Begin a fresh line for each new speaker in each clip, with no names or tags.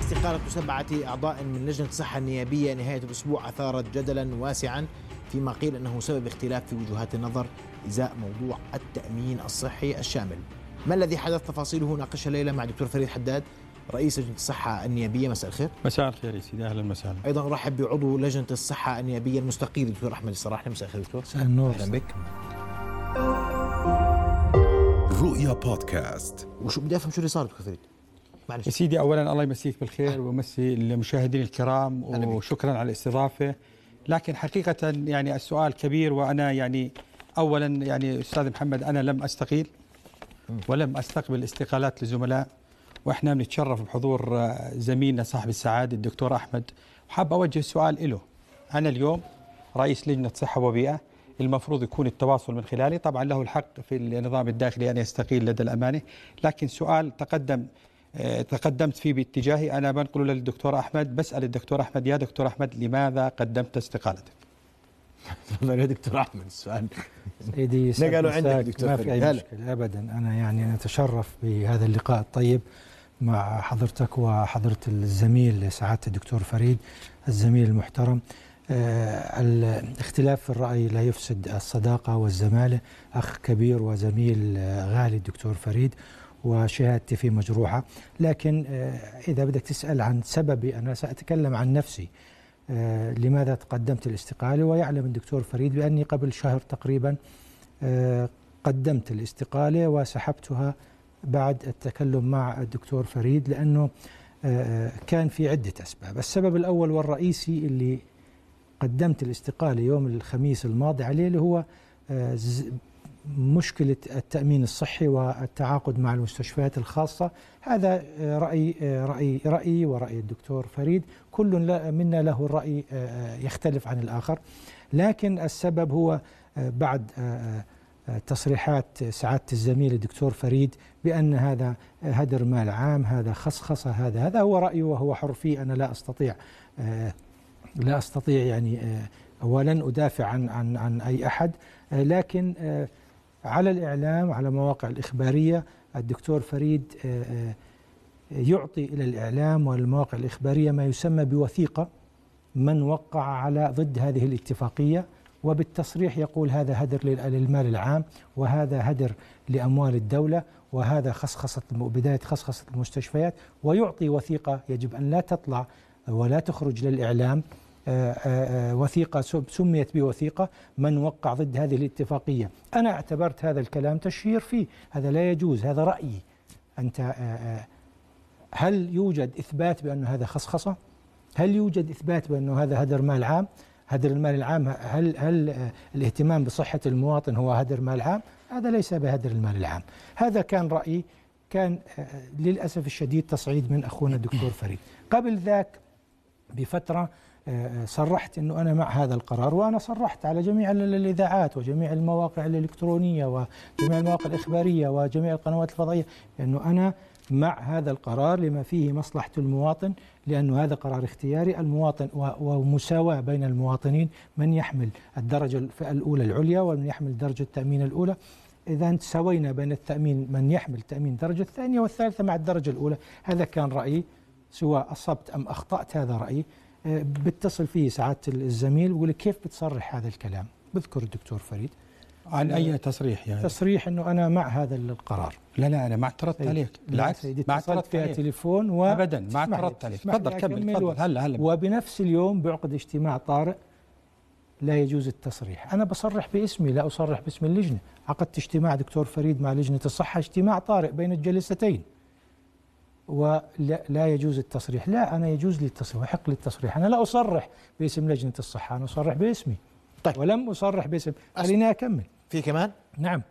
استقالة سبعة أعضاء من لجنة الصحة النيابية نهاية الأسبوع أثارت جدلا واسعا فيما قيل أنه سبب اختلاف في وجهات النظر إزاء موضوع التأمين الصحي الشامل ما الذي حدث تفاصيله ناقشها ليلة مع دكتور فريد حداد رئيس لجنة الصحة النيابية مساء الخير
مساء الخير يا سيدي اهلا وسهلا
أيضا أرحب بعضو لجنة الصحة النيابية المستقيل دكتور أحمد الصراحة مساء الخير دكتور
مساء النور
أهلا بك
رؤيا بودكاست
وشو بدي أفهم شو اللي صار دكتور فريد
يا
معلش
سيدي اولا الله يمسيك بالخير ويمسي المشاهدين الكرام
أهلا بك.
وشكرا على الاستضافه لكن حقيقه يعني السؤال كبير وانا يعني اولا يعني استاذ محمد انا لم استقيل ولم استقبل استقالات لزملاء واحنا بنتشرف بحضور آه، زميلنا صاحب السعاده الدكتور احمد حاب اوجه السؤال له انا اليوم رئيس لجنه صحه وبيئه المفروض يكون التواصل من خلالي طبعا له الحق في النظام الداخلي ان يستقيل لدى الامانه لكن سؤال تقدم آه، تقدمت فيه باتجاهي انا بنقله للدكتور احمد بسال الدكتور احمد يا دكتور احمد لماذا قدمت استقالتك؟
تفضل يا دكتور أحمد السؤال
سيدي يسعد
نقلوا عندك
مساك.
دكتور
ما في
فريد.
اي
هلا.
مشكله ابدا انا يعني نتشرف بهذا اللقاء الطيب مع حضرتك وحضره الزميل سعاده الدكتور فريد الزميل المحترم آه، الاختلاف في الراي لا يفسد الصداقه والزماله اخ كبير وزميل آه، غالي الدكتور فريد وشهادتي فيه مجروحه لكن آه، اذا بدك تسال عن سببي انا ساتكلم عن نفسي آه، لماذا تقدمت الاستقاله ويعلم الدكتور فريد باني قبل شهر تقريبا آه، قدمت الاستقاله وسحبتها بعد التكلم مع الدكتور فريد لانه آه، كان في عده اسباب، السبب الاول والرئيسي اللي قدمت الاستقاله يوم الخميس الماضي عليه اللي هو آه، ز- مشكله التامين الصحي والتعاقد مع المستشفيات الخاصه، هذا آه، راي آه، راي رايي وراي الدكتور فريد، كل لا- منا له الراي آه، آه، يختلف عن الاخر، لكن السبب هو آه، بعد آه، آه، تصريحات سعادة الزميل الدكتور فريد بأن هذا هدر مال عام هذا خصخصة هذا هذا هو رأيه وهو حر فيه أنا لا أستطيع آه، لا أستطيع يعني آه، ولن أدافع عن عن عن أي أحد آه، لكن آه، على الإعلام على مواقع الإخبارية الدكتور فريد آه، آه، يعطي إلى الإعلام والمواقع الإخبارية ما يسمى بوثيقة من وقع على ضد هذه الاتفاقية وبالتصريح يقول هذا هدر لل- للمال العام وهذا هدر لأموال الدولة وهذا خصخصة الم- بداية خصخصة المستشفيات ويعطي وثيقة يجب أن لا تطلع ولا تخرج للإعلام آه، آه، آه، وثيقة سم- سميت بوثيقة من وقع ضد هذه الاتفاقية أنا اعتبرت هذا الكلام تشهير فيه هذا لا يجوز هذا رأيي أنت آه، آه، هل يوجد إثبات بأن هذا خصخصة؟ هل يوجد إثبات بأنه هذا هدر مال عام؟ هدر المال العام هل هل آه، الاهتمام بصحة المواطن هو هدر مال عام؟ هذا ليس بهدر المال العام، هذا كان رأيي كان آه، للأسف الشديد تصعيد من أخونا الدكتور فريد، قبل ذاك بفترة آه، صرحت أنه أنا مع هذا القرار وأنا صرحت على جميع ال- ال- الإذاعات وجميع المواقع الإلكترونية وجميع المواقع الإخبارية وجميع القنوات الفضائية أنه أنا مع هذا القرار لما فيه مصلحة المواطن لأنه هذا قرار اختياري المواطن و- ومساواة بين المواطنين من يحمل الدرجة الف- الأولى العليا ومن يحمل درجة التأمين الأولى إذا سوينا بين التأمين من يحمل تأمين الدرجة الثانية والثالثة مع الدرجة الأولى هذا كان رأيي سواء أصبت أم أخطأت هذا رأيي آه، بتصل فيه سعادة الزميل ويقول لي كيف بتصرح هذا الكلام بذكر الدكتور فريد
عن اي تصريح يعني؟
تصريح أنه أنا مع هذا القرار
لا لا انا ما اعترضت
سيدي.
عليك
لا
بالعكس
سيدي
ما
اتصلت
اعترضت
فيها
عليك
تليفون و
ابدا ما
اسمح لي-
اعترضت عليك
اسمح لي
تفضل كمل
أكمل
تفضل هلا هلا
وبنفس اليوم بعقد اجتماع طارئ لا يجوز التصريح أنا بصرح باسمي لا أصرح باسم اللجنة عقدت اجتماع دكتور فريد مع لجنة الصحة اجتماع طارئ بين الجلستين ولا لا يجوز التصريح لا أنا يجوز لي التصريح وحق لي التصريح أنا لا أصرح باسم لجنة الصحة أنا أصرح باسمي
طيب.
ولم أصرح باسم
أس-
خليني أكمل
في كمان
نعم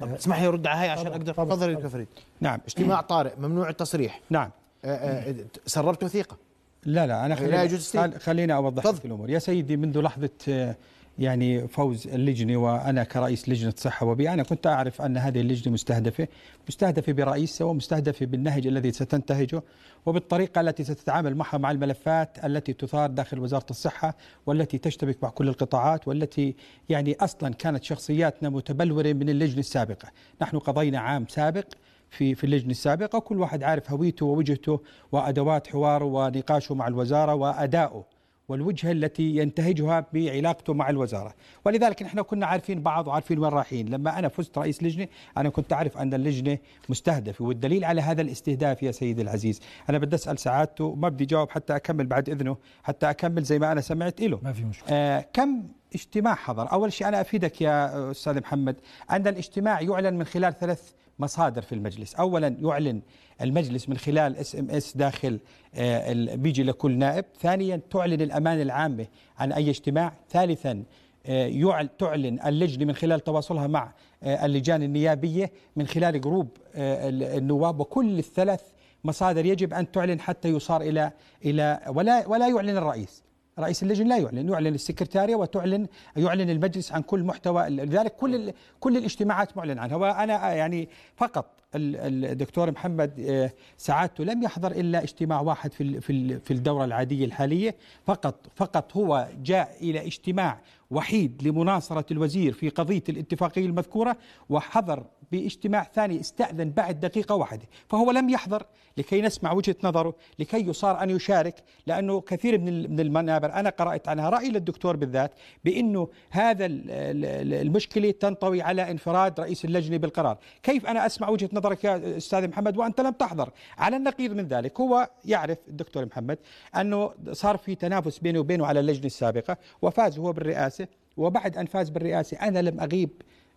طب اسمح لي ارد على هاي عشان
طبعاً،
اقدر
طبعاً،
تفضل يا
طبعاً.
دكتور فريد
نعم
اجتماع طارئ ممنوع التصريح
نعم
آه، آه، سربت وثيقه
لا لا انا
لا
خلينا
يجوز السير.
خل- خلينا اوضح
تفضل.
لك الامور يا سيدي منذ لحظه آه، يعني فوز اللجنه وانا كرئيس لجنه صحه وبيئه انا كنت اعرف ان هذه اللجنه مستهدفه مستهدفه برئيسها ومستهدفه بالنهج الذي ستنتهجه وبالطريقه التي ستتعامل معها مع الملفات التي تثار داخل وزاره الصحه والتي تشتبك مع كل القطاعات والتي يعني اصلا كانت شخصياتنا متبلوره من اللجنه السابقه نحن قضينا عام سابق في في اللجنه السابقه كل واحد عارف هويته ووجهته وادوات حواره ونقاشه مع الوزاره وادائه والوجهه التي ينتهجها بعلاقته مع الوزاره، ولذلك نحن كنا عارفين بعض وعارفين وين رايحين، لما انا فزت رئيس لجنه انا كنت اعرف ان اللجنه مستهدفه والدليل على هذا الاستهداف يا سيدي العزيز، انا بدي اسال سعادته ما بدي جاوب حتى اكمل بعد اذنه، حتى اكمل زي ما انا سمعت له.
ما في مشكله
آه كم اجتماع حضر؟ أول شيء أنا أفيدك يا أستاذ محمد أن الاجتماع يعلن من خلال ثلاث مصادر في المجلس أولا يعلن المجلس من خلال اس ام اس داخل آه ال- بيجي لكل نائب ثانيا تعلن الأمانة العامة عن أي اجتماع ثالثا آه، يعل- تعلن اللجنة من خلال تواصلها مع آه، اللجان النيابية من خلال جروب آه، ال- النواب وكل الثلاث مصادر يجب أن تعلن حتى يصار إلى إلى ولا ولا يعلن الرئيس رئيس اللجنه لا يعلن يعلن السكرتاريه وتعلن يعلن المجلس عن كل محتوى لذلك كل ال- كل الاجتماعات معلن عنها وانا يعني فقط ال- الدكتور محمد آه، سعادته لم يحضر الا اجتماع واحد في ال- في ال- في الدوره العاديه الحاليه فقط فقط هو جاء الى اجتماع وحيد لمناصره الوزير في قضيه الاتفاقيه المذكوره وحضر باجتماع ثاني استاذن بعد دقيقه واحده فهو لم يحضر لكي نسمع وجهه نظره لكي يصار ان يشارك لانه كثير من ال- من المنابر انا قرات عنها راي للدكتور بالذات بانه هذا ال- ال- المشكله تنطوي على انفراد رئيس اللجنه بالقرار كيف انا اسمع وجهه نظرك يا استاذ محمد وانت لم تحضر على النقيض من ذلك هو يعرف الدكتور محمد انه صار في تنافس بينه وبينه على اللجنه السابقه وفاز هو بالرئاسه وبعد ان فاز بالرئاسه انا لم اغيب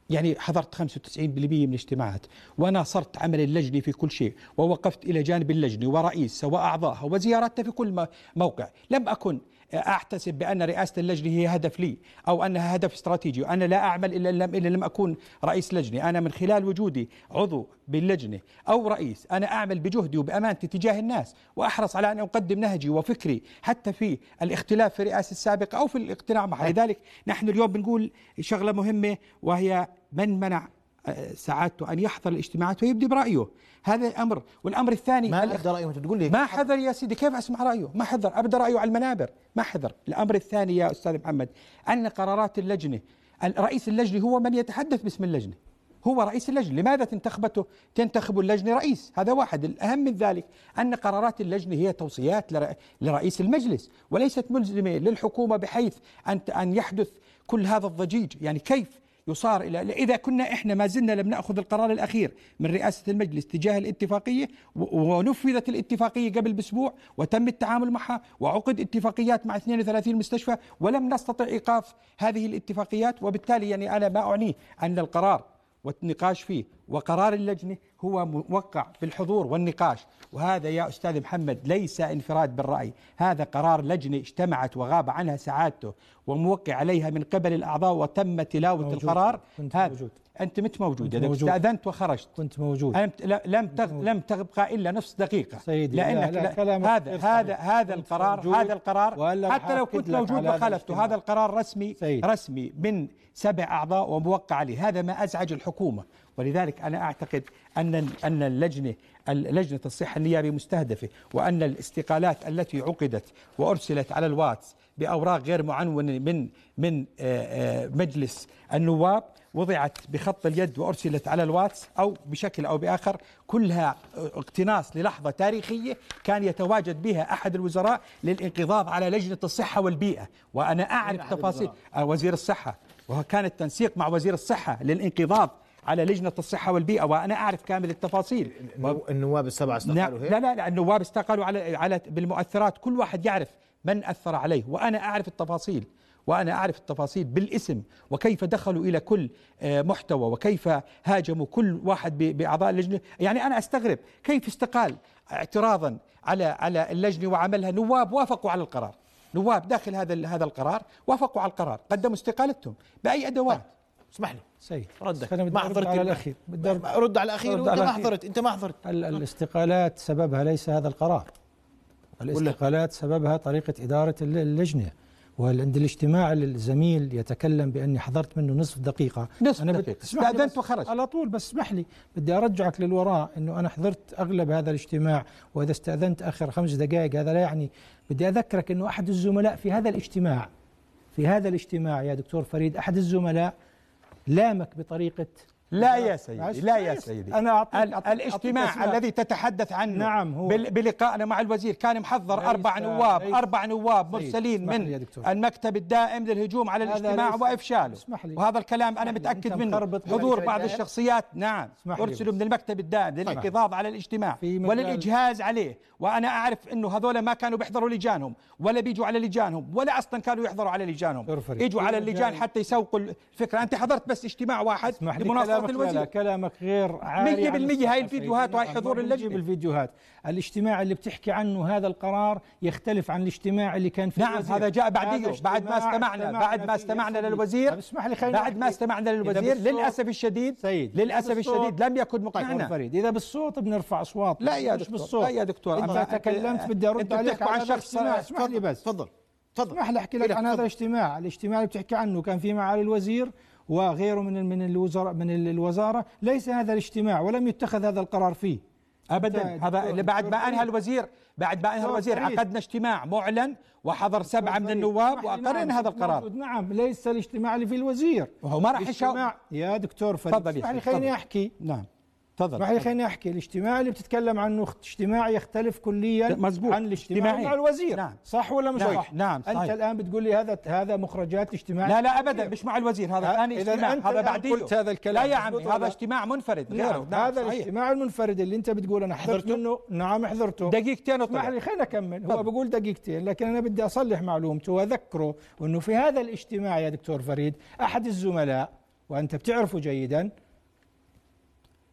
يعني حضرت 95% من الاجتماعات وناصرت عمل اللجنة في كل شيء ووقفت إلى جانب اللجنة ورئيسها وأعضائها وزيارتها في كل م- موقع لم أكن أحتسب بأن رئاسة اللجنة هي هدف لي أو أنها هدف استراتيجي وأنا لا أعمل إلا لم, إلا لم أكون رئيس لجنة أنا من خلال وجودي عضو باللجنة أو رئيس أنا أعمل بجهدي وبأمانتي تجاه الناس وأحرص على أن أقدم نهجي وفكري حتى في الاختلاف في الرئاسة السابقة أو في الاقتناع معها لذلك نحن اليوم بنقول شغلة مهمة وهي من منع آه، سعادته أن يحضر الاجتماعات ويبدي برأيه هذا أمر والأمر
إيه،
الثاني
ما
الاخ-
ابدا رايه انت بتقول لي
ما حذر يا سيدي كيف اسمع رايه ما حذر ابدا رايه على المنابر ما حذر الامر الثاني يا استاذ محمد ان قرارات اللجنه ال- رئيس اللجنه هو من يتحدث باسم اللجنه هو رئيس اللجنه لماذا تنتخبته تنتخب اللجنه رئيس هذا واحد الاهم من ذلك ان قرارات اللجنه هي توصيات لر- لرئيس المجلس وليست ملزمه للحكومه بحيث ان ان يحدث كل هذا الضجيج يعني كيف يصار الى اذا كنا احنا ما زلنا لم ناخذ القرار الاخير من رئاسه المجلس تجاه الاتفاقيه و- ونفذت الاتفاقيه قبل باسبوع وتم التعامل معها وعقد اتفاقيات مع 32 مستشفى ولم نستطع ايقاف هذه الاتفاقيات وبالتالي يعني انا ما اعنيه ان القرار والنقاش فيه وقرار اللجنه هو موقع بالحضور والنقاش وهذا يا استاذ محمد ليس انفراد بالراي هذا قرار لجنه اجتمعت وغاب عنها سعادته وموقع عليها من قبل الاعضاء وتم تلاوه
موجود.
القرار
كنت
هذا
موجود.
انت مت موجود
كنت
إذا
موجود.
استاذنت وخرجت
كنت موجود
أنت لا- لم تغ... لم تبقى الا نصف دقيقه
سيدي، لا،
لانك
لا،
لا
كلامك
هذا
غير
هذا
صحيح.
هذا
كنت
القرار
موجود،
هذا القرار
ولا
حتى لو
بحاكد
كنت
لك
موجود
على هذا
وخالفته
الاجتماع.
هذا القرار رسمي
سيد.
رسمي من سبع اعضاء وموقع عليه هذا ما ازعج الحكومه ولذلك انا اعتقد ان ان اللجنه لجنه الصحه النيابه مستهدفه وان الاستقالات التي عقدت وارسلت على الواتس باوراق غير معنونه من من آه، آه، مجلس النواب وضعت بخط اليد وارسلت على الواتس او بشكل او باخر كلها آه، اقتناص للحظه تاريخيه كان يتواجد بها احد الوزراء للانقضاض على لجنه الصحه والبيئه وانا اعرف
أحد
تفاصيل
الوزراء؟
آه، وزير الصحة وكان التنسيق مع وزير الصحة للانقضاض على لجنة الصحة والبيئة وأنا أعرف كامل التفاصيل
النو- النواب السبعه
نعم،
استقالوا هيك
لا لا لا النواب استقالوا على على بالمؤثرات كل واحد يعرف من أثر عليه وأنا أعرف التفاصيل وأنا أعرف التفاصيل بالاسم وكيف دخلوا إلى كل آه، محتوى وكيف هاجموا كل واحد ب- بأعضاء اللجنة يعني أنا أستغرب كيف استقال اعتراضا على على اللجنة وعملها نواب وافقوا على القرار نواب داخل هذا ال- هذا القرار وافقوا على القرار قدموا استقالتهم بأي أدوات
اسمح لي
سيد
ردك
أنا بدي
ما
أرد
حضرت
على
ال-
الأخير بدي أرد-
رد على الاخير
رد
وانت
على
ما
الأخير.
حضرت انت ما حضرت
ال- الاستقالات سببها ليس هذا القرار الاستقالات سببها طريقة إدارة الل- اللجنة وعند الاجتماع الزميل يتكلم بأني حضرت منه نصف دقيقة
نصف
أنا
دقيقة.
اسمح لي
استأذنت
بس-
وخرجت.
على طول بس اسمح لي بدي أرجعك للوراء أنه أنا حضرت أغلب هذا الاجتماع وإذا استأذنت آخر خمس دقائق هذا لا يعني بدي أذكرك أنه أحد الزملاء في هذا الاجتماع في هذا الاجتماع يا دكتور فريد أحد الزملاء لامك بطريقة
لا يا سيدي
معلش،
لا يا
معلش.
سيدي
أنا أعطيك-
ال-
أعطيك-
الاجتماع
أعطيك أسماء.
الذي تتحدث عنه
نعم، هو-
بال- بلقائنا مع الوزير كان محضر
ليس- آه،
أربع نواب
ليس-
أربع نواب
سيدي،
مرسلين
اسمح لي يا
من
دكتور.
المكتب الدائم للهجوم على
هذا
الاجتماع
ليس-
وإفشاله
اسمح لي.
وهذا الكلام أنا
اسمح لي،
متأكد
أنت
منه
مخربط
حضور
بين
بعض
الجهات.
الشخصيات نعم
اسمح لي
أرسلوا
بس.
من المكتب الدائم للحفاظ على الاجتماع
في مجال-
وللإجهاز عليه وأنا أعرف أنه هذول ما كانوا بيحضروا لجانهم ولا بيجوا على لجانهم ولا أصلا كانوا يحضروا على لجانهم
دكتور فريد.
يجوا
في
على
مجال-
اللجان حتى يسوقوا الفكرة أنت حضرت بس اجتماع واحد
اسمح لي
لمناصرة
كلامك لا لا
الوزير
كلامك غير عالي
مية
عن
بالمية هاي
الصحة
الفيديوهات
سيدي.
وهاي حضور
نجيب
اللجنة.
الفيديوهات الاجتماع اللي بتحكي عنه هذا القرار يختلف عن الاجتماع اللي كان فيه
نعم،
الوزير.
هذا جاء بعديه،
هذا
بعد ما
اجتماع
استمعنا- بعد ما
فيه يا
استمعنا
سيدي.
للوزير،
طب اسمح لي خليني
بعد ما
أحكي.
استمعنا
إذا
للوزير
بالصوت-
للأسف الشديد
سيد،
للأسف
بالصوت-
الشديد لم يكن
طيب
مقنعنا
فريد اذا بالصوت بنرفع اصوات
لا يا
مش
دكتور،
بالصوت
لا يا دكتور، أما
انت
أنت-
تكلمت بدي ارد
أنتوا
عليك
بتحكوا
على
عن
هذا
شخص-
الاجتماع. اسمح لي بس
تفضل تفضل
اسمح لي احكي
إيه،
لك عن هذا الاجتماع، الاجتماع اللي بتحكي عنه كان في معالي الوزير وغيره من من الوزراء من الوزاره، ليس هذا الاجتماع ولم يتخذ هذا القرار فيه.
ابدا
أنت
هذا
دكتور-
اللي بعد ما
دكتور
انهى
فريد.
الوزير بعد ما انهى
دكتور
الوزير
فريد.
عقدنا اجتماع معلن وحضر سبعه من
فريد،
النواب
اسمح لي،
واقرن
نعم،
هذا
كنت موجود،
القرار
نعم ليس الاجتماع اللي فيه الوزير
وهو ما راح
الاجتماع
يشاور
يا دكتور فريد
تفضل يا
اسمح لي
شيخ،
خليني
تفضل.
احكي
نعم تفضل
اسمح لي خليني احكي الاجتماع اللي بتتكلم عنه اخت- اجتماع يختلف كليا
مزبوط.
عن الاجتماع
اجتماعي.
مع الوزير
نعم.
صح ولا مش
نعم،
صح؟
نعم،
انت
صحيح.
الان بتقول لي هذا هذا مخرجات اجتماع
لا لا ابدا مش مع الوزير هذا ثاني
ها، نعم. إذا
اجتماع
أنت
هذا
الآن
بعديه
قلت هذا
لا
الكلام.
يا عمي
مظبوط ولا
هذا
لا؟
اجتماع منفرد غيره
نعم هذا
صحيح.
الاجتماع المنفرد اللي انت بتقول انا حضرت
حضرته؟
منه نعم حضرته
دقيقتين
اسمح
وطلع
لي خليني اكمل هو
طيب. تفضل.
بقول دقيقتين لكن انا بدي اصلح معلومته واذكره انه في هذا الاجتماع يا دكتور فريد احد الزملاء وانت بتعرفه جيدا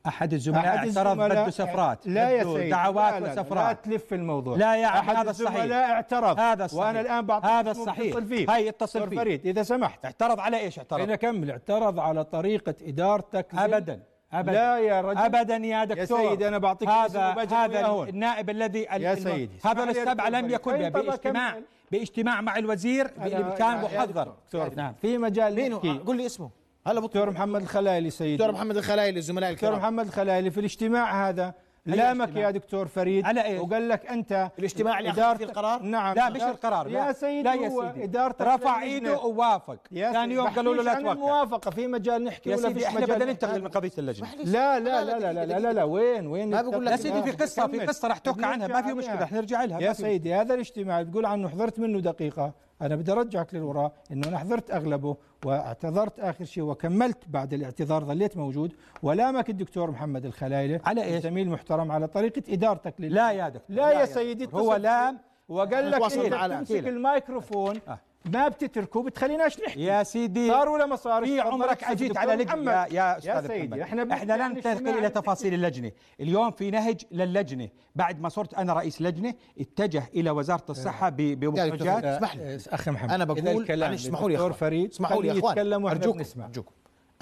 احد الزملاء
أحد
اعترض
الزملاء-
بده سفرات
لا يا
بده
سيدي لا
دعوات
لا لا،
وسفرات
لا تلف الموضوع
لا يا عمي،
أحد
هذا الصحيح.
الزملاء اعترض
هذا الصحيح.
وانا الان بعطيك
هذا
اسمه
الصحيح.
اتصل فيه
هاي اتصل
دكتور
فيه.
فريد اذا سمحت
اعترض على ايش
خليني
اعترض
اكمل اعترض على طريقه ادارتك لل-
ابدا ابدا
لا يا رجل
ابدا يا دكتور
سيدي، أنا بعطيك
هذا
اسم وبجد
هذا
ويا هون.
النائب الذي
يا سيدي،
هذا
اسمح لي يا
السبعه
دكتور
لم يكن
فريد. طيب،
باجتماع
أكمل.
باجتماع مع الوزير بامكان
يا- يا
محضر
دكتور
نعم
في مجال
مين هو؟
نحكي.
قل لي اسمه هلا بطل
دكتور محمد الخلايلي سيدي
دكتور محمد الخلايلي الزملاء
دكتور
الكرام
محمد الخلايلي في الاجتماع هذا لامك
اجتماع؟
يا دكتور فريد
على إيش؟
وقال لك انت
الاجتماع اللي أخذ
إدارة-
فيه القرار؟
نعم
لا مش
إدارة-
القرار لا
يا سيدي
لا يا
هو
سيدي
إدارتك
رفع
للجنة.
ايده ووافق
يا
ثاني
سيدي،
يوم قالوا له
بحكيش
لا
عن
توقع
الموافقه في مجال نحكي
يا
ولا
سيدي
فيش
احنا
مجال
بدنا
نحكي.
ننتقل من قضيه اللجنه
لا لا لا لا لا لا, لا, لا وين وين
ما بقول لك
يا
لا،
سيدي في قصه في قصه راح تحكى عنها ما في مشكله
احنا
احنا نرجع لها
يا
ما في مشكلة.
سيدي هذا الاجتماع اللي بتقول عنه حضرت منه دقيقة أنا بدي أرجعك للوراء إنه أنا حضرت أغلبه واعتذرت آخر شيء وكملت بعد الاعتذار ظليت موجود ولامك الدكتور محمد الخلايلة
على إيش؟
زميل محترم على طريقة إدارتك لل...
لا يا دكتور
لا, يا سيدي
دكتور. هو
اتصل
لام
وقال لك
تواصل
إيه
معنا.
تمسك الميكروفون
آه.
ما بتتركه بتخليناش نحكي
يا سيدي
صار ولا ما صار
في عمرك اجيت على لجنه يا, يا استاذ محمد
سيدي احنا بنحكي
احنا لن
عن
ننتقل
اجتماع
الى تفاصيل اللجنه اليوم في نهج للجنه بعد ما صرت انا رئيس لجنه اتجه الى وزاره الصحه ب- بمخرجات
دكتور، يعني اسمح لي.
اخي محمد
انا بقول معلش
معلش
اسمحوا لي يا
دكتور
اخوان
فريد
اسمحوا لي يا اخوان
يتكلموا
ارجوكم
ارجوك نسمع
ارجوكم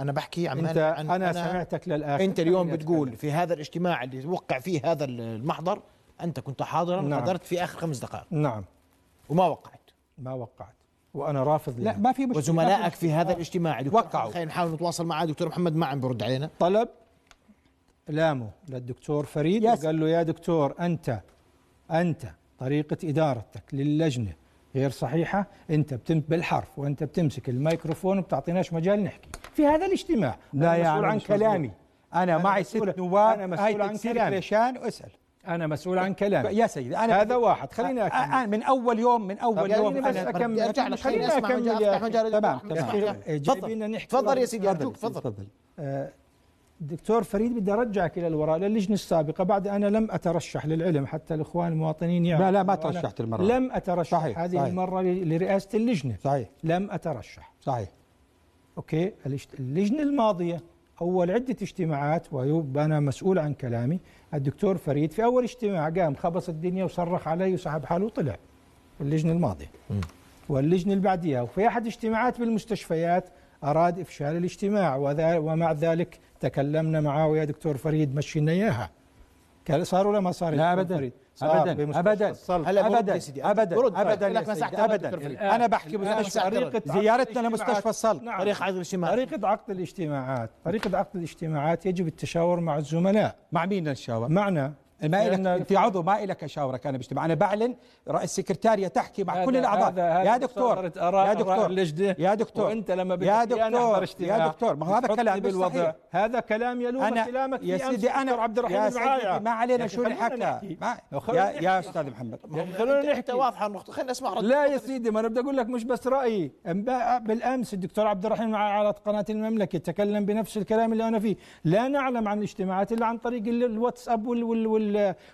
انا بحكي عن
انت
عن-
انا, أنا سمعتك للاخر
انت اليوم
خليني
بتقول
أتكلم.
في هذا الاجتماع اللي وقع فيه هذا المحضر انت كنت حاضرا
نعم.
وحضرت في اخر خمس دقائق
نعم
وما وقعت
ما وقعت وانا رافض
لا
لها.
ما في مشكله
وزملائك في هذا الاجتماع دكتور
وقعوا.
محمد خلينا نحاول نتواصل مع دكتور محمد ما عم برد علينا
طلب لامه للدكتور فريد
يس.
وقال له يا دكتور انت انت طريقه ادارتك للجنه غير صحيحه انت بتم بالحرف وانت بتمسك الميكروفون وبتعطيناش مجال نحكي في هذا الاجتماع
لا
أنا
يا
مسؤول
عم
عن
مش مزبوط.
كلامي
انا
أنا
معي ست
مسؤول- أنا
نواب
مسؤول
هاي
عن
تكسير
كلامي.
كريشان واسال
انا مسؤول عن كلامي
يا سيدي انا
هذا واحد خليني
أ-
اكمل
أ- من اول يوم من اول
طب يعني
يوم
خليني بس
أنا
أكمل.
بدي ارجع لك خليني
خليني
اسمع
أكمل
مجال
يا
افتح مجال
تمام،
لدكتور
تمام.
محمد.
إيه، جايبيننا
تفضل
نحكي
تفضل
والله.
يا سيدي ارجوك تفضل
تفضل
آه، دكتور فريد بدي ارجعك الى الوراء للجنه السابقه بعد انا لم اترشح للعلم حتى الاخوان المواطنين يعرفوا
لا، لا، ما
أنه أنا
ترشحت المرة.
لم اترشح
صحيح،
صحيح هذه
صحيح.
صحيح المره ل- لرئاسه اللجنه
صحيح
لم اترشح
صحيح
اوكي الإجت- اللجنه الماضيه اول عده اجتماعات ويب انا مسؤول عن كلامي الدكتور فريد في اول اجتماع قام خبص الدنيا وصرخ علي وسحب حاله وطلع اللجنه الماضيه واللجنه اللي بعديها وفي احد اجتماعات بالمستشفيات اراد افشال الاجتماع وذا- ومع ذلك تكلمنا معاه ويا دكتور فريد مشينا اياها كان صار ولا ما صار يا
لا
دكتور
ابدا
فريد؟ صار
ابدا
بمستشفى
ابدا
الصلب.
هلا برد
ابدا
يا سيدي،
ابدا
برد.
ابدا
لك
يا
مساحة
سيدي،
عمل
ابدا
دكتور فريد.
انا بحكي
الآن
مستشفى
طريقة عقد
زيارتنا
الاجتماعات.
لمستشفى الصلب
نعم.
طريق عدل الشمال
طريقة عقد الاجتماعات طريقة عقد الاجتماعات يجب التشاور مع الزملاء
مع مين نتشاور
معنا
ما
نعم. لأن-
إلك انت عضو ما إلك اشاورك انا باجتماع انا بعلن رئيس السكرتاريه تحكي مع
هذا-
كل الاعضاء
هذا- هذا
يا دكتور
صدرت آراء-
يا
آراء
دكتور
اللجنة.
يا دكتور
وانت لما
يا
بتحكي أنا أحضر
دكتور
اجتماع.
يا دكتور ما هو هذا
بتحطني
كلام بالوضع
هذا كلام يلوم كلامك
يا
فيه
سيدي
أمس
انا
دكتور عبد الرحيم
يا
البعايع.
سيدي ما
يا
علينا
أخي
شو اللي
خلونا
حكى
نحكي.
ما
لو
يا
خلونا
يا استاذ محمد
يا أخي خلونا
انت
نحكي
واضحه النقطه خلينا نسمع رد
لا يا سيدي ما انا بدي اقول لك مش بس رايي امبارح بالامس الدكتور عبد الرحيم على قناه المملكه تكلم بنفس الكلام اللي انا فيه لا نعلم عن الاجتماعات الا عن طريق ال- الواتساب وال وال وال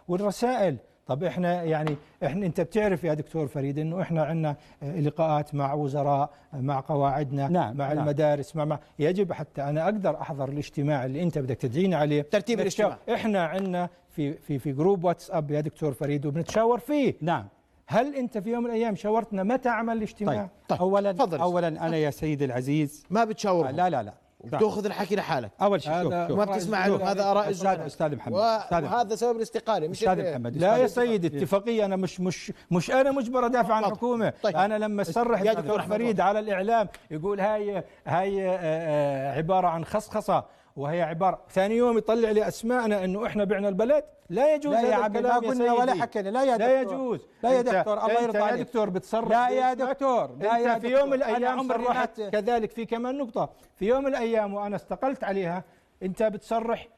والرسائل طب احنا يعني احنا انت بتعرف يا دكتور فريد انه احنا عندنا لقاءات مع وزراء مع قواعدنا
نعم،
مع
نعم.
المدارس مع, مع يجب حتى انا اقدر احضر الاجتماع اللي انت بدك تدعيني عليه
ترتيب الاجتماع.
احنا عندنا في في في جروب واتساب يا دكتور فريد وبنتشاور فيه
نعم
هل انت في يوم من الايام شاورتنا متى عمل الاجتماع؟
طيب,
طيب،
اولا
تفضل.
اولا انا يا سيدي العزيز
ما
آه،
بتشاورهم
لا لا لا
تاخذ الحكي لحالك
اول شيء شوف
هذا
شوف
ما بتسمع
شوف.
لهم هذا اراء
أستاذ-
الزملاء.
أستاذ محمد.
و-
أستاذ محمد.
وهذا سبب الاستقاله مش
استاذ
ال-
محمد
لا يا
أستاذ محمد.
سيدي اتفاقية أنا مش مش مش أنا مجبر أدافع عن الحكومة
طيب.
أنا لما صرح
يا
الدكتور
دكتور أحمد
فريد على الإعلام يقول هاي هاي آه، آه، عبارة عن خصخصة وهي عبارة ثاني يوم يطلع لي أسماءنا إنه إحنا بعنا البلد لا يجوز
لا يا
هذا
عمي ما
الكلام يا
قلنا ولا
سيدي.
حكينا لا يا
لا
دكتور.
يجوز
لا يا
أنت-
دكتور الله
أنت
يرضى
يا
عليك.
دكتور بتصرح
لا يا
باسمك.
دكتور، لا
أنت
يا
في
دكتور.
يوم من
أنا
الأيام
عمري ما ت-
صرحت كذلك في كمان نقطة في يوم من الأيام وأنا استقلت عليها أنت بتصرح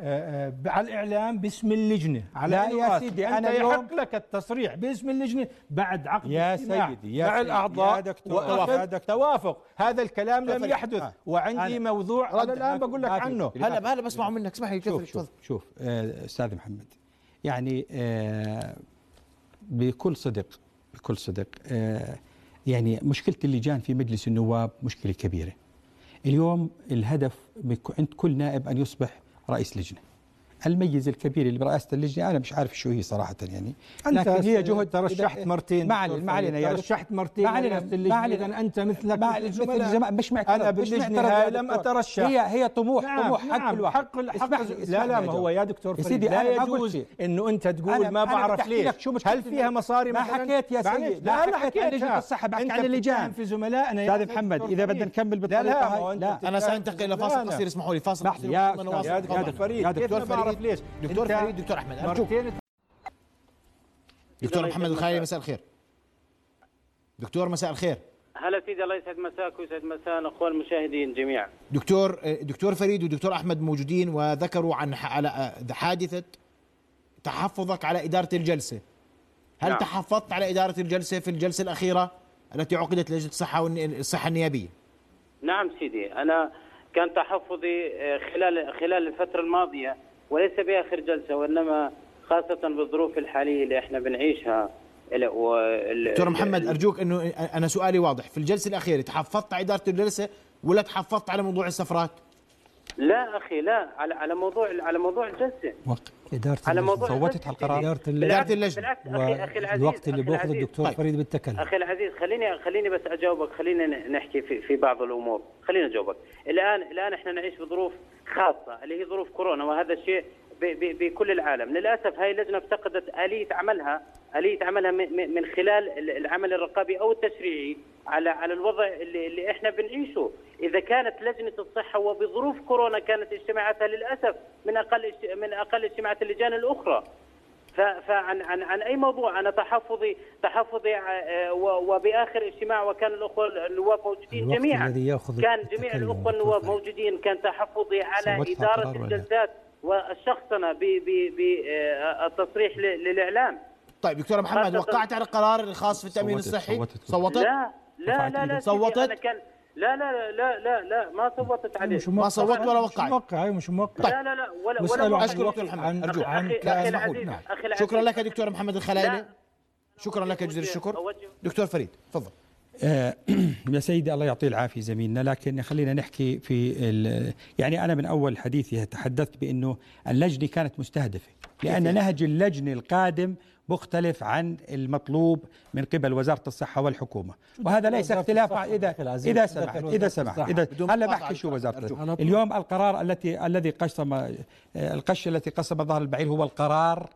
آه، آه، على الإعلام باسم اللجنة على
لا يا
الأوقات.
سيدي،
أنت
أنا اليوم-
يحق لك التصريح باسم اللجنة بعد عقد
يا
اجتماع
سيدي، يا
مع
سيدي،
الأعضاء
يا دكتور،
وأخذ
يا دكتور.
توافق هذا الكلام لم
فريد.
يحدث
آه.
وعندي
أنا-
موضوع
رد
أنا الآن
ما في-
بقول لك
ما في
عنه
مشكلة.
هلا هلا بسمعوا منك اسمح لي
شوف
جفري،
شوف
تفضل
شوف آه، استاذ محمد يعني آه، بكل صدق بكل صدق آه، يعني مشكله اللجان في مجلس النواب مشكله كبيره اليوم الهدف من ك- عند كل نائب ان يصبح رئيس لجنه الميز الكبير اللي برئاسه اللجنه انا مش عارف شو هي صراحه يعني
أنت
لكن هي جهد
ترشحت
إذا-
مرتين
ما علينا ما علينا يعني يا دكتور.
ترشحت مرتين
ما علينا
ورئاسة
ما علينا.
اللجنة. إذن أنت مثلك
ما
مثل
مثل
الزملاء.
الزملاء مش معترض
أنا
مش
باللجنة
معترض يا
هاي لم
دكتور.
أترشح.
هي هي طموح
نعم،
طموح حق
نعم،
الواحد
حق الحق
اسمح لي-
لا
اسمح لي
لا ما
أجاوب.
هو يا دكتور
يا
فريد
سيدي،
لا
أنا ما قلت
يجوز
شيء.
انه انت
أنا-
تقول ما
أنا بدي
بعرف
أحكي
ليش
لك شو مشكلة
هل فيها
ال-
مصاري
ما
مثلاً؟
حكيت يا
معلش،
سيد، ما
لا انا
حكيت عن
حكيت
لجنة الصحة، بحكي
أنت
عن اللجان.
بتتهم في زملائنا يا
استاذ
أخي
محمد
دكتور
إذا
فريد.
بدنا نكمل
لا
بالطريقة
لا ما هو
هاي
أنت
لا
انا سأنتقل لفاصل
لا، لا.
قصير اسمحوا لي فاصل
اسمح
قصير
لي، يا
ثم
أستاذ،
نواصل.
يا
تفضل.
دكتور فريد
يا
كيف
دكتور
ما بعرف
فريد.
ليش
دكتور
أنت
فريد، دكتور أحمد، أرجوك.
مرتين
دكتور محمد الخيري مساء الخير دكتور مساء الخير
هلا سيدي الله يسعد مساك ويسعد مساء الاخوه المشاهدين جميعا.
دكتور آه، دكتور فريد ودكتور احمد موجودين وذكروا عن ح- على حادثه تحفظك على اداره الجلسه هل نعم.
نعم.
تحفظت على اداره الجلسه في الجلسه الاخيره التي عقدت لجنه الصحه والن- الصحه النيابيه
نعم سيدي انا كان تحفظي آه، خلال خلال الفتره الماضيه وليس باخر جلسه وانما خاصه بالظروف الحاليه اللي احنا بنعيشها ال- وال-
دكتور محمد ارجوك انه انا سؤالي واضح في الجلسه الاخيره تحفظت على اداره الجلسه ولا تحفظت على موضوع السفرات
لا اخي لا على على موضوع على موضوع الجلسه
وقت
إدارة
على
اللجنة.
موضوع
صوتت
الجلسة
على القرار.
سيدي.
إدارة اللجنة.
بالعكس-
إدارة اللجنة.
بالعكس اخي اخي العزيز
والوقت اللي
أخي
بياخذ
العزيز.
الدكتور
طيب.
فريد بالتكلم
اخي العزيز خليني خليني بس اجاوبك خلينا ن- نحكي في في بعض الامور خليني اجاوبك الان الان احنا نعيش بظروف خاصه اللي هي ظروف كورونا وهذا الشيء ب- ب- بكل العالم للاسف هاي اللجنه افتقدت اليه عملها اليه عملها من من- من خلال ال- العمل الرقابي او التشريعي على على الوضع اللي, اللي احنا بنعيشه اذا كانت لجنه الصحه وبظروف كورونا كانت اجتماعاتها للاسف من اقل اجت- من اقل اجتماعات اللجان الاخرى ف- فعن عن عن اي موضوع انا تحفظي تحفظي ع- و- وباخر اجتماع وكان الاخوه النواب موجودين
الوقت
جميعا
الذي يأخذ
كان
التكلم
جميع
دكتور
الاخوه النواب
فريد.
موجودين كان تحفظي على
صوتها
اداره
قرار ولا؟
الجلسات وشخصنا بالتصريح آه، ل- للاعلام
طيب دكتور محمد
خاصة-
وقعت على القرار الخاص في التامين
صوتت-
الصحي
صوتت.
صوتت
لا لا لا لا سيدي،
صوتت؟
أنا كان لا لا لا لا لا ما صوتت عليه
مش موقع.
صوت ولا
مش
وقع.
موقع هاي مش موقع
لا لا لا ولا
واسألوا
ولا
عن
أشكرك
الوقت،
دكتور محمد.
عن-
أرجو.
أخي-
عن
أخي
كلام
العزيز،
محمود. نعم.
أخي العزيز.
شكرا لك يا دكتور محمد الخلايلي
لا.
شكرا لك جزيل الشكر
أوجه-
دكتور فريد تفضل
آه، يا سيدي الله يعطيه العافيه زميلنا لكن خلينا نحكي في ال- يعني انا من اول حديثي تحدثت بانه اللجنه كانت مستهدفه
يعني؟
لان نهج اللجنه القادم مختلف عن المطلوب من قبل وزاره الصحه والحكومه وهذا ليس
وزارة
اختلاف
الصحة
اذا
يا أخي العزيز.
اذا
دخل
سمحت
وزارة
اذا سمحت
الصحة.
اذا
بدون
هلا
مقاطعة
بحكي شو
دكتور،
وزاره
أرجوك.
الصحة. اليوم القرار التي الذي قسم آه، القش التي قسم ظهر البعير هو القرار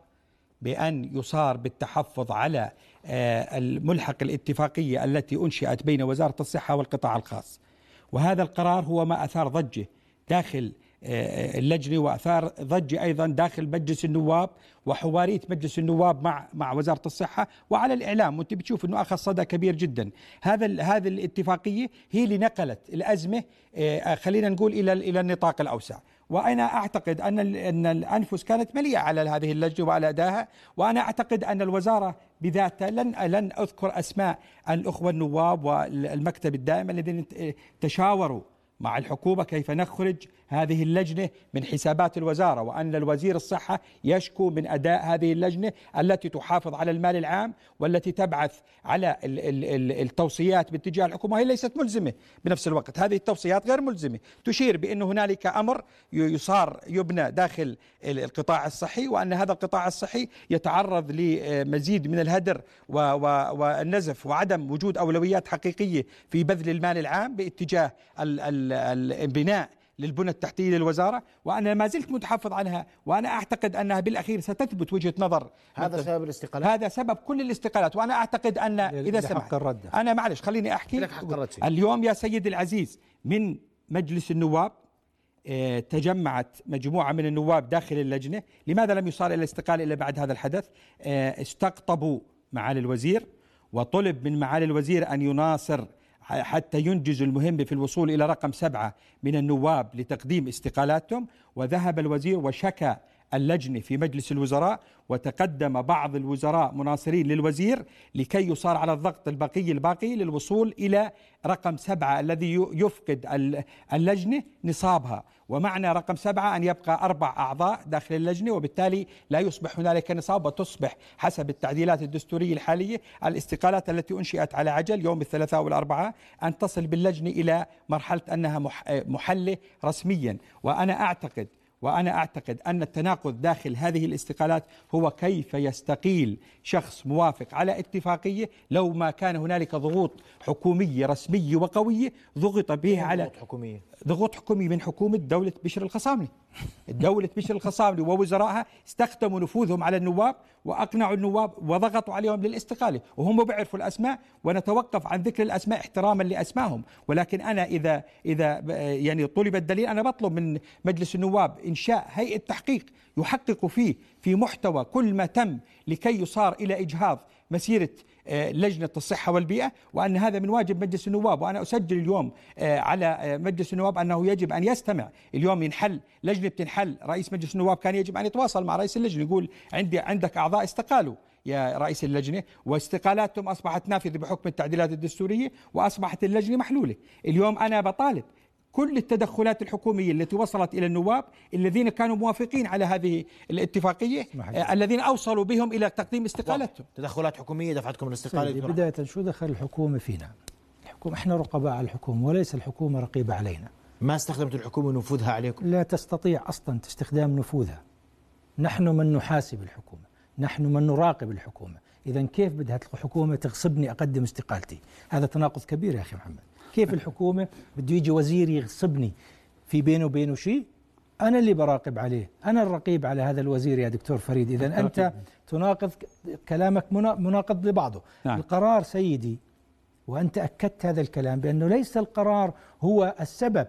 بأن يصار بالتحفظ على آه، الملحق الاتفاقية التي أنشئت بين وزارة الصحة والقطاع الخاص وهذا القرار هو ما أثار ضجة داخل آه، اللجنه واثار ضجه ايضا داخل مجلس النواب وحواريه مجلس النواب مع مع وزاره الصحه وعلى الاعلام وانت بتشوف انه اخذ صدى كبير جدا هذا ال- هذه الاتفاقيه هي اللي نقلت الازمه آه، خلينا نقول الى ال- الى النطاق الاوسع وانا اعتقد ان ال- ان الانفس كانت مليئه على هذه اللجنه وعلى ادائها وانا اعتقد ان الوزاره بذاتها لن لن اذكر اسماء الاخوه النواب والمكتب الدائم الذين ت- تشاوروا مع الحكومة كيف نخرج هذه اللجنة من حسابات الوزارة وأن الوزير الصحة يشكو من أداء هذه اللجنة التي تحافظ على المال العام والتي تبعث على ال- ال- ال- التوصيات باتجاه الحكومة هي ليست ملزمة بنفس الوقت هذه التوصيات غير ملزمة تشير بأن هنالك أمر ي- يصار يبنى داخل ال- القطاع الصحي وأن هذا القطاع الصحي يتعرض لمزيد من الهدر و- و- والنزف وعدم وجود أولويات حقيقية في بذل المال العام باتجاه ال- ال- البناء للبنى التحتية للوزارة وأنا ما زلت متحفظ عنها وأنا أعتقد أنها بالأخير ستثبت وجهة نظر
هذا سبب الاستقالات
هذا سبب كل الاستقالات وانا اعتقد ان اذا
لحق
سمحت
الرد.
انا معلش خليني احكي
لك حق الرد فيه.
اليوم يا سيدي العزيز من مجلس النواب آه، تجمعت مجموعة من النواب داخل اللجنة لماذا لم يصار إلى الاستقالة إلا بعد هذا الحدث آه، استقطبوا معالي الوزير وطلب من معالي الوزير أن يناصر ح- حتى ينجز المهمة في الوصول إلى رقم سبعة من النواب لتقديم استقالاتهم وذهب الوزير وشكى اللجنة في مجلس الوزراء وتقدم بعض الوزراء مناصرين للوزير لكي يصار على الضغط البقي الباقي للوصول إلى رقم سبعة الذي ي- يفقد ال- اللجنة نصابها ومعنى رقم سبعة أن يبقى أربع أعضاء داخل اللجنة وبالتالي لا يصبح هنالك نصاب وتصبح حسب التعديلات الدستورية الحالية الاستقالات التي أنشئت على عجل يوم الثلاثاء والأربعاء أن تصل باللجنة إلى مرحلة أنها مح- محلة رسميا وأنا أعتقد وانا اعتقد ان التناقض داخل هذه الاستقالات هو كيف يستقيل شخص موافق على اتفاقيه لو ما كان هنالك ضغوط حكوميه رسميه وقويه ضغط بها على
ضغوط حكومية
ضغوط حكومي من حكومة دولة بشر الخصاملي دولة بشر الخصاملي ووزرائها استخدموا نفوذهم على النواب وأقنعوا النواب وضغطوا عليهم للاستقالة وهم بيعرفوا الأسماء ونتوقف عن ذكر الأسماء احتراما لأسمائهم ولكن أنا إذا إذا ب- يعني طلب الدليل أنا بطلب من مجلس النواب إنشاء هيئة تحقيق يحقق فيه في محتوى كل ما تم لكي يصار إلى إجهاض مسيرة آه، لجنة الصحة والبيئة وأن هذا من واجب مجلس النواب وأنا أسجل اليوم آه، على آه، مجلس النواب أنه يجب أن يستمع اليوم ينحل لجنة بتنحل رئيس مجلس النواب كان يجب أن يتواصل مع رئيس اللجنة يقول عندي عندك أعضاء استقالوا يا رئيس اللجنة واستقالاتهم أصبحت نافذة بحكم التعديلات الدستورية وأصبحت اللجنة محلولة اليوم أنا بطالب كل التدخلات الحكومية التي وصلت إلى النواب الذين كانوا موافقين على هذه الاتفاقية
اسمح لي.
آه، الذين أوصلوا بهم إلى تقديم استقالتهم
تدخلات حكومية دفعتكم الاستقالة
سيدي
دكتور
طيب، بداية شو دخل الحكومة فينا؟ الحكومة احنا رقباء على الحكومة وليس الحكومة رقيبة علينا
أحمد. ما استخدمت الحكومة نفوذها عليكم
لا تستطيع اصلا استخدام نفوذها. نحن من نحاسب الحكومه، نحن من نراقب الحكومه، اذا كيف بدها الحكومه تغصبني اقدم استقالتي؟ هذا تناقض كبير يا اخي محمد، كيف الحكومه بده يجي وزير يغصبني في بينه وبينه شيء؟ انا اللي براقب عليه، انا الرقيب على هذا الوزير يا دكتور فريد، اذا انت تناقض ك- كلامك منا- مناقض لبعضه.
نعم.
القرار سيدي وأنت أكدت هذا الكلام بأنه ليس القرار هو السبب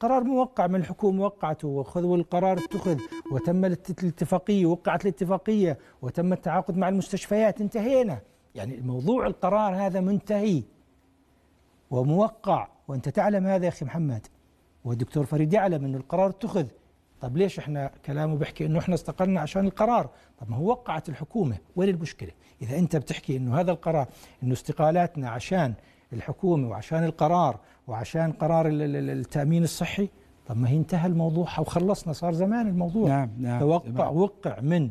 قرار موقع من الحكومة وقعته وخذ والقرار اتخذ وتم الات- الاتفاقية وقعت الاتفاقية وتم التعاقد مع المستشفيات انتهينا يعني الموضوع القرار هذا منتهي وموقع وأنت تعلم هذا يا أخي محمد والدكتور فريد يعلم أنه القرار اتخذ طب ليش احنا كلامه بيحكي انه احنا استقلنا عشان القرار طب ما هو وقعت الحكومه وين المشكله اذا انت بتحكي انه هذا القرار انه استقالاتنا عشان الحكومه وعشان القرار وعشان قرار ال- ال- ال- التامين الصحي طب ما هي انتهى الموضوع او خلصنا صار زمان الموضوع
نعم، نعم،
توقع
زمان.
وقع من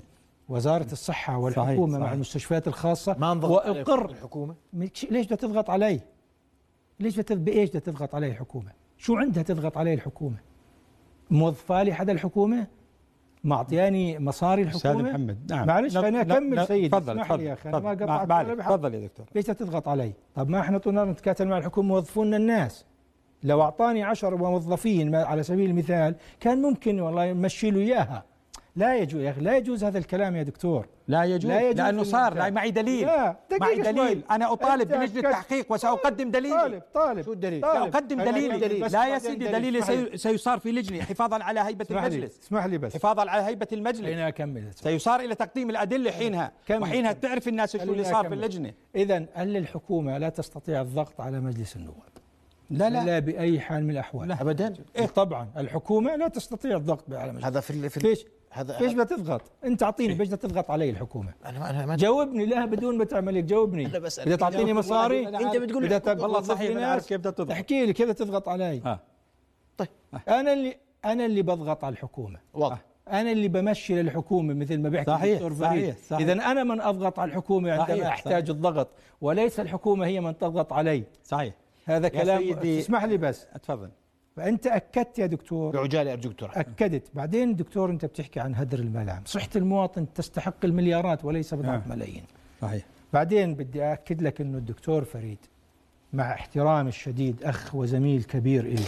وزاره الصحه والحكومه مع
صحيح.
المستشفيات الخاصه
ما انضغط عليكم
واقر
الحكومة
مش- ليش بدها تضغط علي؟ ليش بدها بايش بدها تضغط علي الحكومه؟ شو عندها تضغط علي الحكومه؟ موظفه لي حدا الحكومه؟ معطياني مصاري
استاذ
الحكومه؟
محمد نعم
معلش،
لا-
خليني
لا-
أكمل
لا،
سيدي.
تفضل
اسمح لي
تفضل
يا أخي، أنا ما
مع-
قطعت
معلش،
ولا بحق.
تفضل يا دكتور
ليش بدها تضغط علي؟ طب ما احنا طولنا نتكاتل مع الحكومه موظفونا الناس لو اعطاني عشر موظفين ما- على سبيل المثال كان ممكن والله يمشي له اياها لا يجوز يا اخي لا يجوز هذا الكلام يا دكتور
لا يجوز
لا
لا
يجوز
لانه صار
الانتهاء.
لا معي دليل
لا، دقيقة
معي
شوي.
دليل انا اطالب
أنت
بلجنه
كت-
التحقيق وساقدم دليلي
طالب طالب
شو الدليل؟
طالب.
ساقدم
أنا
دليلي
بس
لا يا
بعدين
سيدي
دليل.
دليلي
اسمح لي.
سي- سيصار في لجنه حفاظا على هيبه
اسمح لي
المجلس
اسمح لي بس
حفاظا على هيبه المجلس
خليني اكمل
سيصار الى تقديم الادله حينها
كمل.
وحينها تعرف الناس شو اللي
خليني
صار في
أكمل.
اللجنه
اذا هل الحكومه لا تستطيع الضغط على مجلس النواب
لا
لا,
لا
لا باي حال من الاحوال
لا.
ابدا
إيه طبعا الحكومه لا تستطيع الضغط على مجلس
هذا في ال- في ال-
ليش؟
هذا
ليش بتضغط؟ انت اعطيني
إيه.
ليش تضغط علي الحكومه؟
انا انا ما
جاوبني لا بدون ما تعمل لك جاوبني
أنا بسألك.
بدها تعطيني
أنا-
مصاري
أنا- أنت بتقول
بدها
الحكومة-
تب-
والله
توظف
صحيح
لي
انا
ناس.
اعرف كيف بدها تضغط
احكي لي كيف تضغط علي
آه.
طيب
انا اللي انا اللي بضغط على الحكومه
واضح
انا اللي بمشي للحكومه مثل ما بيحكي
صحيح،
الدكتور فريد.
صحيح، صحيح.
اذا انا من اضغط على الحكومه عندما
صحيح،
احتاج
صحيح.
الضغط وليس الحكومه هي من تضغط علي
صحيح
هذا
يا
كلام
سيدي-
اسمح لي بس
اتفضل
فانت اكدت يا دكتور
بعجاله ارجوك تروح
اكدت بعدين دكتور انت بتحكي عن هدر الملام صحه المواطن تستحق المليارات وليس بضعه
آه.
ملايين
صحيح
بعدين بدي أكد لك أنه الدكتور فريد مع احترامي الشديد أخ وزميل كبير إلي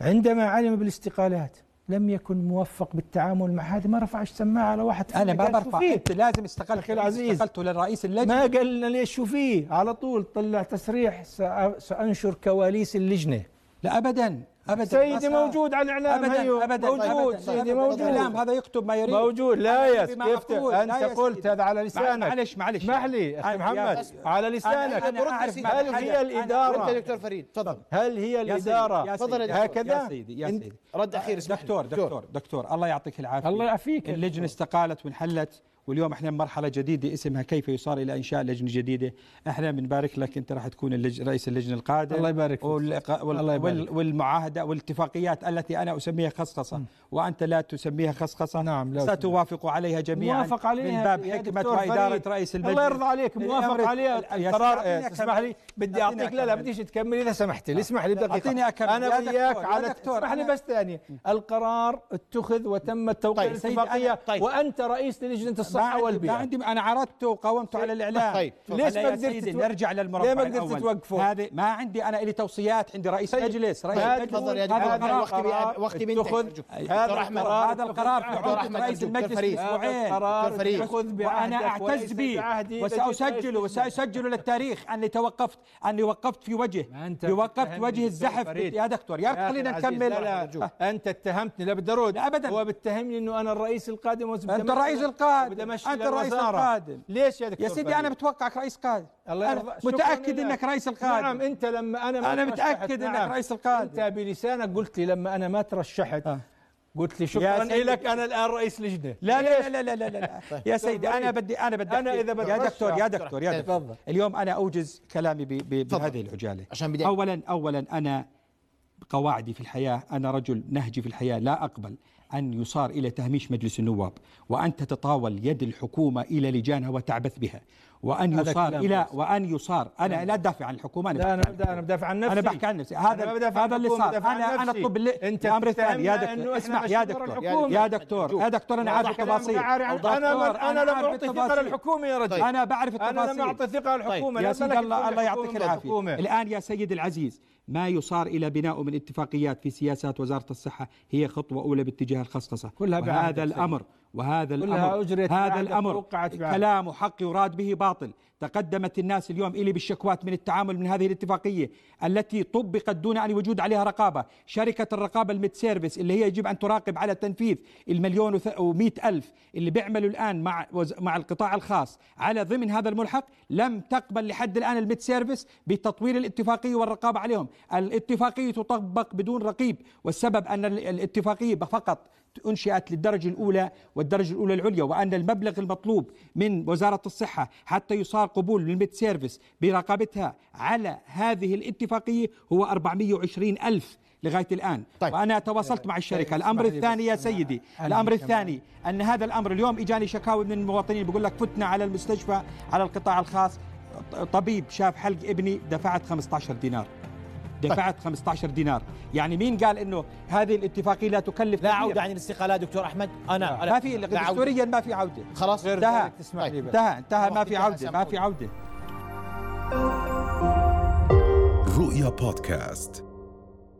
عندما علم بالاستقالات لم يكن موفق بالتعامل مع هذا ما رفعش سماعة على واحد
انا
قال
ما
شو
برفع
فيه؟
انت لازم استقلت
أخي العزيز.
استقلت لرئيس اللجنه
ما قال لنا ليش شو فيه على طول طلع تصريح سأ- سأنشر كواليس اللجنة
لا ابدا ابدا ما
سيدي
صار.
موجود على الإعلام
ابدا
هيو.
ابدا
موجود
أبداً.
سيدي
أبداً. الإعلام
موجود
هذا يكتب ما يريد
موجود لا
أنا
يس
بما
كيف ت-
أقول. لا يا
انت قلت
سيدي.
هذا على
مع-
لسانك
معلش معلش
اسمح لي
أنا-
اخي محمد
يا-
على
أنا-
لسانك
أنا أعرف ما
هل هي
الحدث.
الاداره
أنت
انت دكتور فريد تفضل
هل هي
يا سيدي،
الإدارة
يا سيدي،
تفضل يا دكتور.
هكذا
يا سيدي يا
أنت-
سيدي
رد اخير اسمح لي.
دكتور دكتور دكتور الله يعطيك العافيه
الله يعافيك يا
اللجنه استقالت وانحلت واليوم احنا بمرحله جديده اسمها كيف يصار الى انشاء لجنه جديده احنا بنبارك لك انت راح تكون اللج... رئيس اللجنه القادم
الله يبارك فيك.
والق... وال...
الله
الله
يبارك
وال... والمعاهده والاتفاقيات التي انا اسميها خصخصه وانت لا تسميها خصخصه
نعم، لا أسميها.
ستوافق عليها جميعا
موافق عليها
من باب
يا
حكمه
دكتور
واداره
فريد.
رئيس
الله
المجلس
يرضى عليك، موافق
الأمر-
عليها
ال-
القرار،
يا سيدي،
إيه، تسمح لي؟ بدي
أعطيني
أعطيك- لا، لا،
أكمل.
بديش تكمل إذا سمحت لي، اسمح لي دقيقة.
أعطيني أكمل.
أنا
يا دكتور،
وياك
يا
على-
دكتور،
اسمح لي
أنا-
بس ثانية. القرار اتخذ وتم التوقيع
طيب، سيدي،
الاتفاقية،
أنا- طيب.
وأنت رئيس لجنة
ما
الصحة
عندي,
والبيئة.
ما عندي انا عرضته وقاومته على الاعلام
طيب، تفضل.
ليش
ليش ما
ما
قدرت
قدرت
تتوقف؟
نرجع للمربع
ليه ما قدرت
الأول؟
توقفه؟
هذه ما عندي انا لي توصيات عندي رئيس مجلس رئيس
هذا-
مجلس
تفضل يا
هذا
دكتور
القرار-
وقتي بي- وقتي بينتهي
اتخذ.
أرجوك.
أي-
دكتور
هذا
أحمد.
القرار-
هذا القرار في
دكتور
أحمد،
عهد رئيس
دكتور
المجلس
فريد.
هذا
اسبوعين
القرار
دكتور فريد.
اتخذ بعهدك
وانا اعتز
وليس
به
بعهدي
وساسجله وساسجله للتاريخ اني توقفت اني وقفت في وجهه
ما أنت
اني وقفت
بتتهمني
وجه
دكتور
الزحف
فريد.
يا دكتور يا
أخي
أخي خلينا
العزيز،
نكمل أه.
لا لا انت اتهمتني لا بالضروره
لا أبداً.
هو بتهمني انه انا الرئيس القادم
أنت الرئيس القادم. أنت الرئيس القادم.
ليش يا دكتور
يا سيدي
فريد؟
انا بتوقعك رئيس قادم
الله
أنا
يرضى شكراً
متاكد
لك.
انك رئيس القادم
نعم انت لما انا ما
أنا
ترشحت،
متأكد
نعم.
إنك رئيس القادم.
انت بلسانك قلت لي لما انا ما ترشحت
آه.
قلت لي
يا
شكرا
سيدي.
لك انا الان رئيس لجنه
لا لا لا لا لا لا, لا. يا سيدي انا بدي انا بدي
طيب، أنا
أحكي.
إذا بدي
يا
أرشح-
دكتور يا دكتور يا
تفضل.
دكتور اليوم انا اوجز كلامي ب- ب- بهذه العجاله
عشان بدي-
اولا اولا انا قواعدي في الحياه انا رجل نهجي في الحياه لا اقبل ان يصار الى تهميش مجلس النواب وان تتطاول يد الحكومه الى لجانها وتعبث بها وان
هذا
يصار
كلام
الى
بس.
وان يصار انا لا ادافع عن الحكومه انا
لا
بحكي
انا
عن
بدأ انا بدافع عن نفسي
انا بحكي عن نفسي
أنا
هذا
بدافع عن
هذا اللي
الحكومة،
صار
بدافع عن
انا انا
نفسي.
اطلب ال-
أنت
الامر الثاني يا
بتتهمنا إنه
دكتور
إحنا
اسمع يا
مشورة
دكتور
الحكومة.
يا دكتور يا دكتور انا عارف
وضحت لنا
التفاصيل
مشاعري عن-
دكتور،
انا من- انا لم
عارف
اعطي ثقه
التفاصيل.
للحكومه يا رجل
انا بعرف
انا
التفاصيل
لم اعطي ثقه للحكومه
يا
لا
سيدي
ملكت
الله الله يعطيك
الحكومة
العافيه
الحكومة.
الان يا سيدي العزيز ما يصار الى بناء من اتفاقيات في سياسات وزاره الصحه هي خطوه اولى باتجاه الخصخصه
كلها بعهدك
وهذا
سيدي.
الامر وهذا
كلها
الامر
أجريت
هذا
بعهدك
الامر
ووقعت بعهدك.
كلام حق يراد به باطل تقدمت الناس اليوم الي بالشكوات من التعامل من هذه الاتفاقيه التي طبقت دون ان يوجد عليها رقابه شركه الرقابه الميد سيرفيس اللي هي يجب ان تراقب على تنفيذ المليون و100 الف اللي بيعملوا الان مع وز- مع القطاع الخاص على ضمن هذا الملحق لم تقبل لحد الان الميد سيرفيس بتطوير الاتفاقيه والرقابه عليهم الاتفاقيه تطبق بدون رقيب والسبب ان ال- الاتفاقيه فقط انشئت للدرجه الاولى والدرجه الاولى العليا وان المبلغ المطلوب من وزاره الصحه حتى يصار قبول للميد سيرفيس برقابتها على هذه الاتفاقيه هو 420 الف لغايه الان
طيب.
طيب. وانا تواصلت مع الشركه الامر
اسمح لي
الثاني
بس
يا
طيب. أنا
سيدي
عندي
الامر
كمان.
الثاني ان هذا الامر اليوم اجاني شكاوي من المواطنين بيقول لك فتنا على المستشفى على القطاع الخاص طبيب شاف حلق ابني دفعت 15 دينار دفعت 15 دينار يعني مين قال انه هذه الاتفاقيه لا تكلف
لا
كثير؟
عوده عن الاستقالات يعني دكتور احمد انا أنا-
ما في
لا عودة.
دستوريا ما في عوده
خلاص
غير
انتهى.
ذلك تسمح
طيب.
لي بس
انتهى انتهى ما في
انتهى
عوده
سامحوني.
ما في عوده
رؤيا بودكاست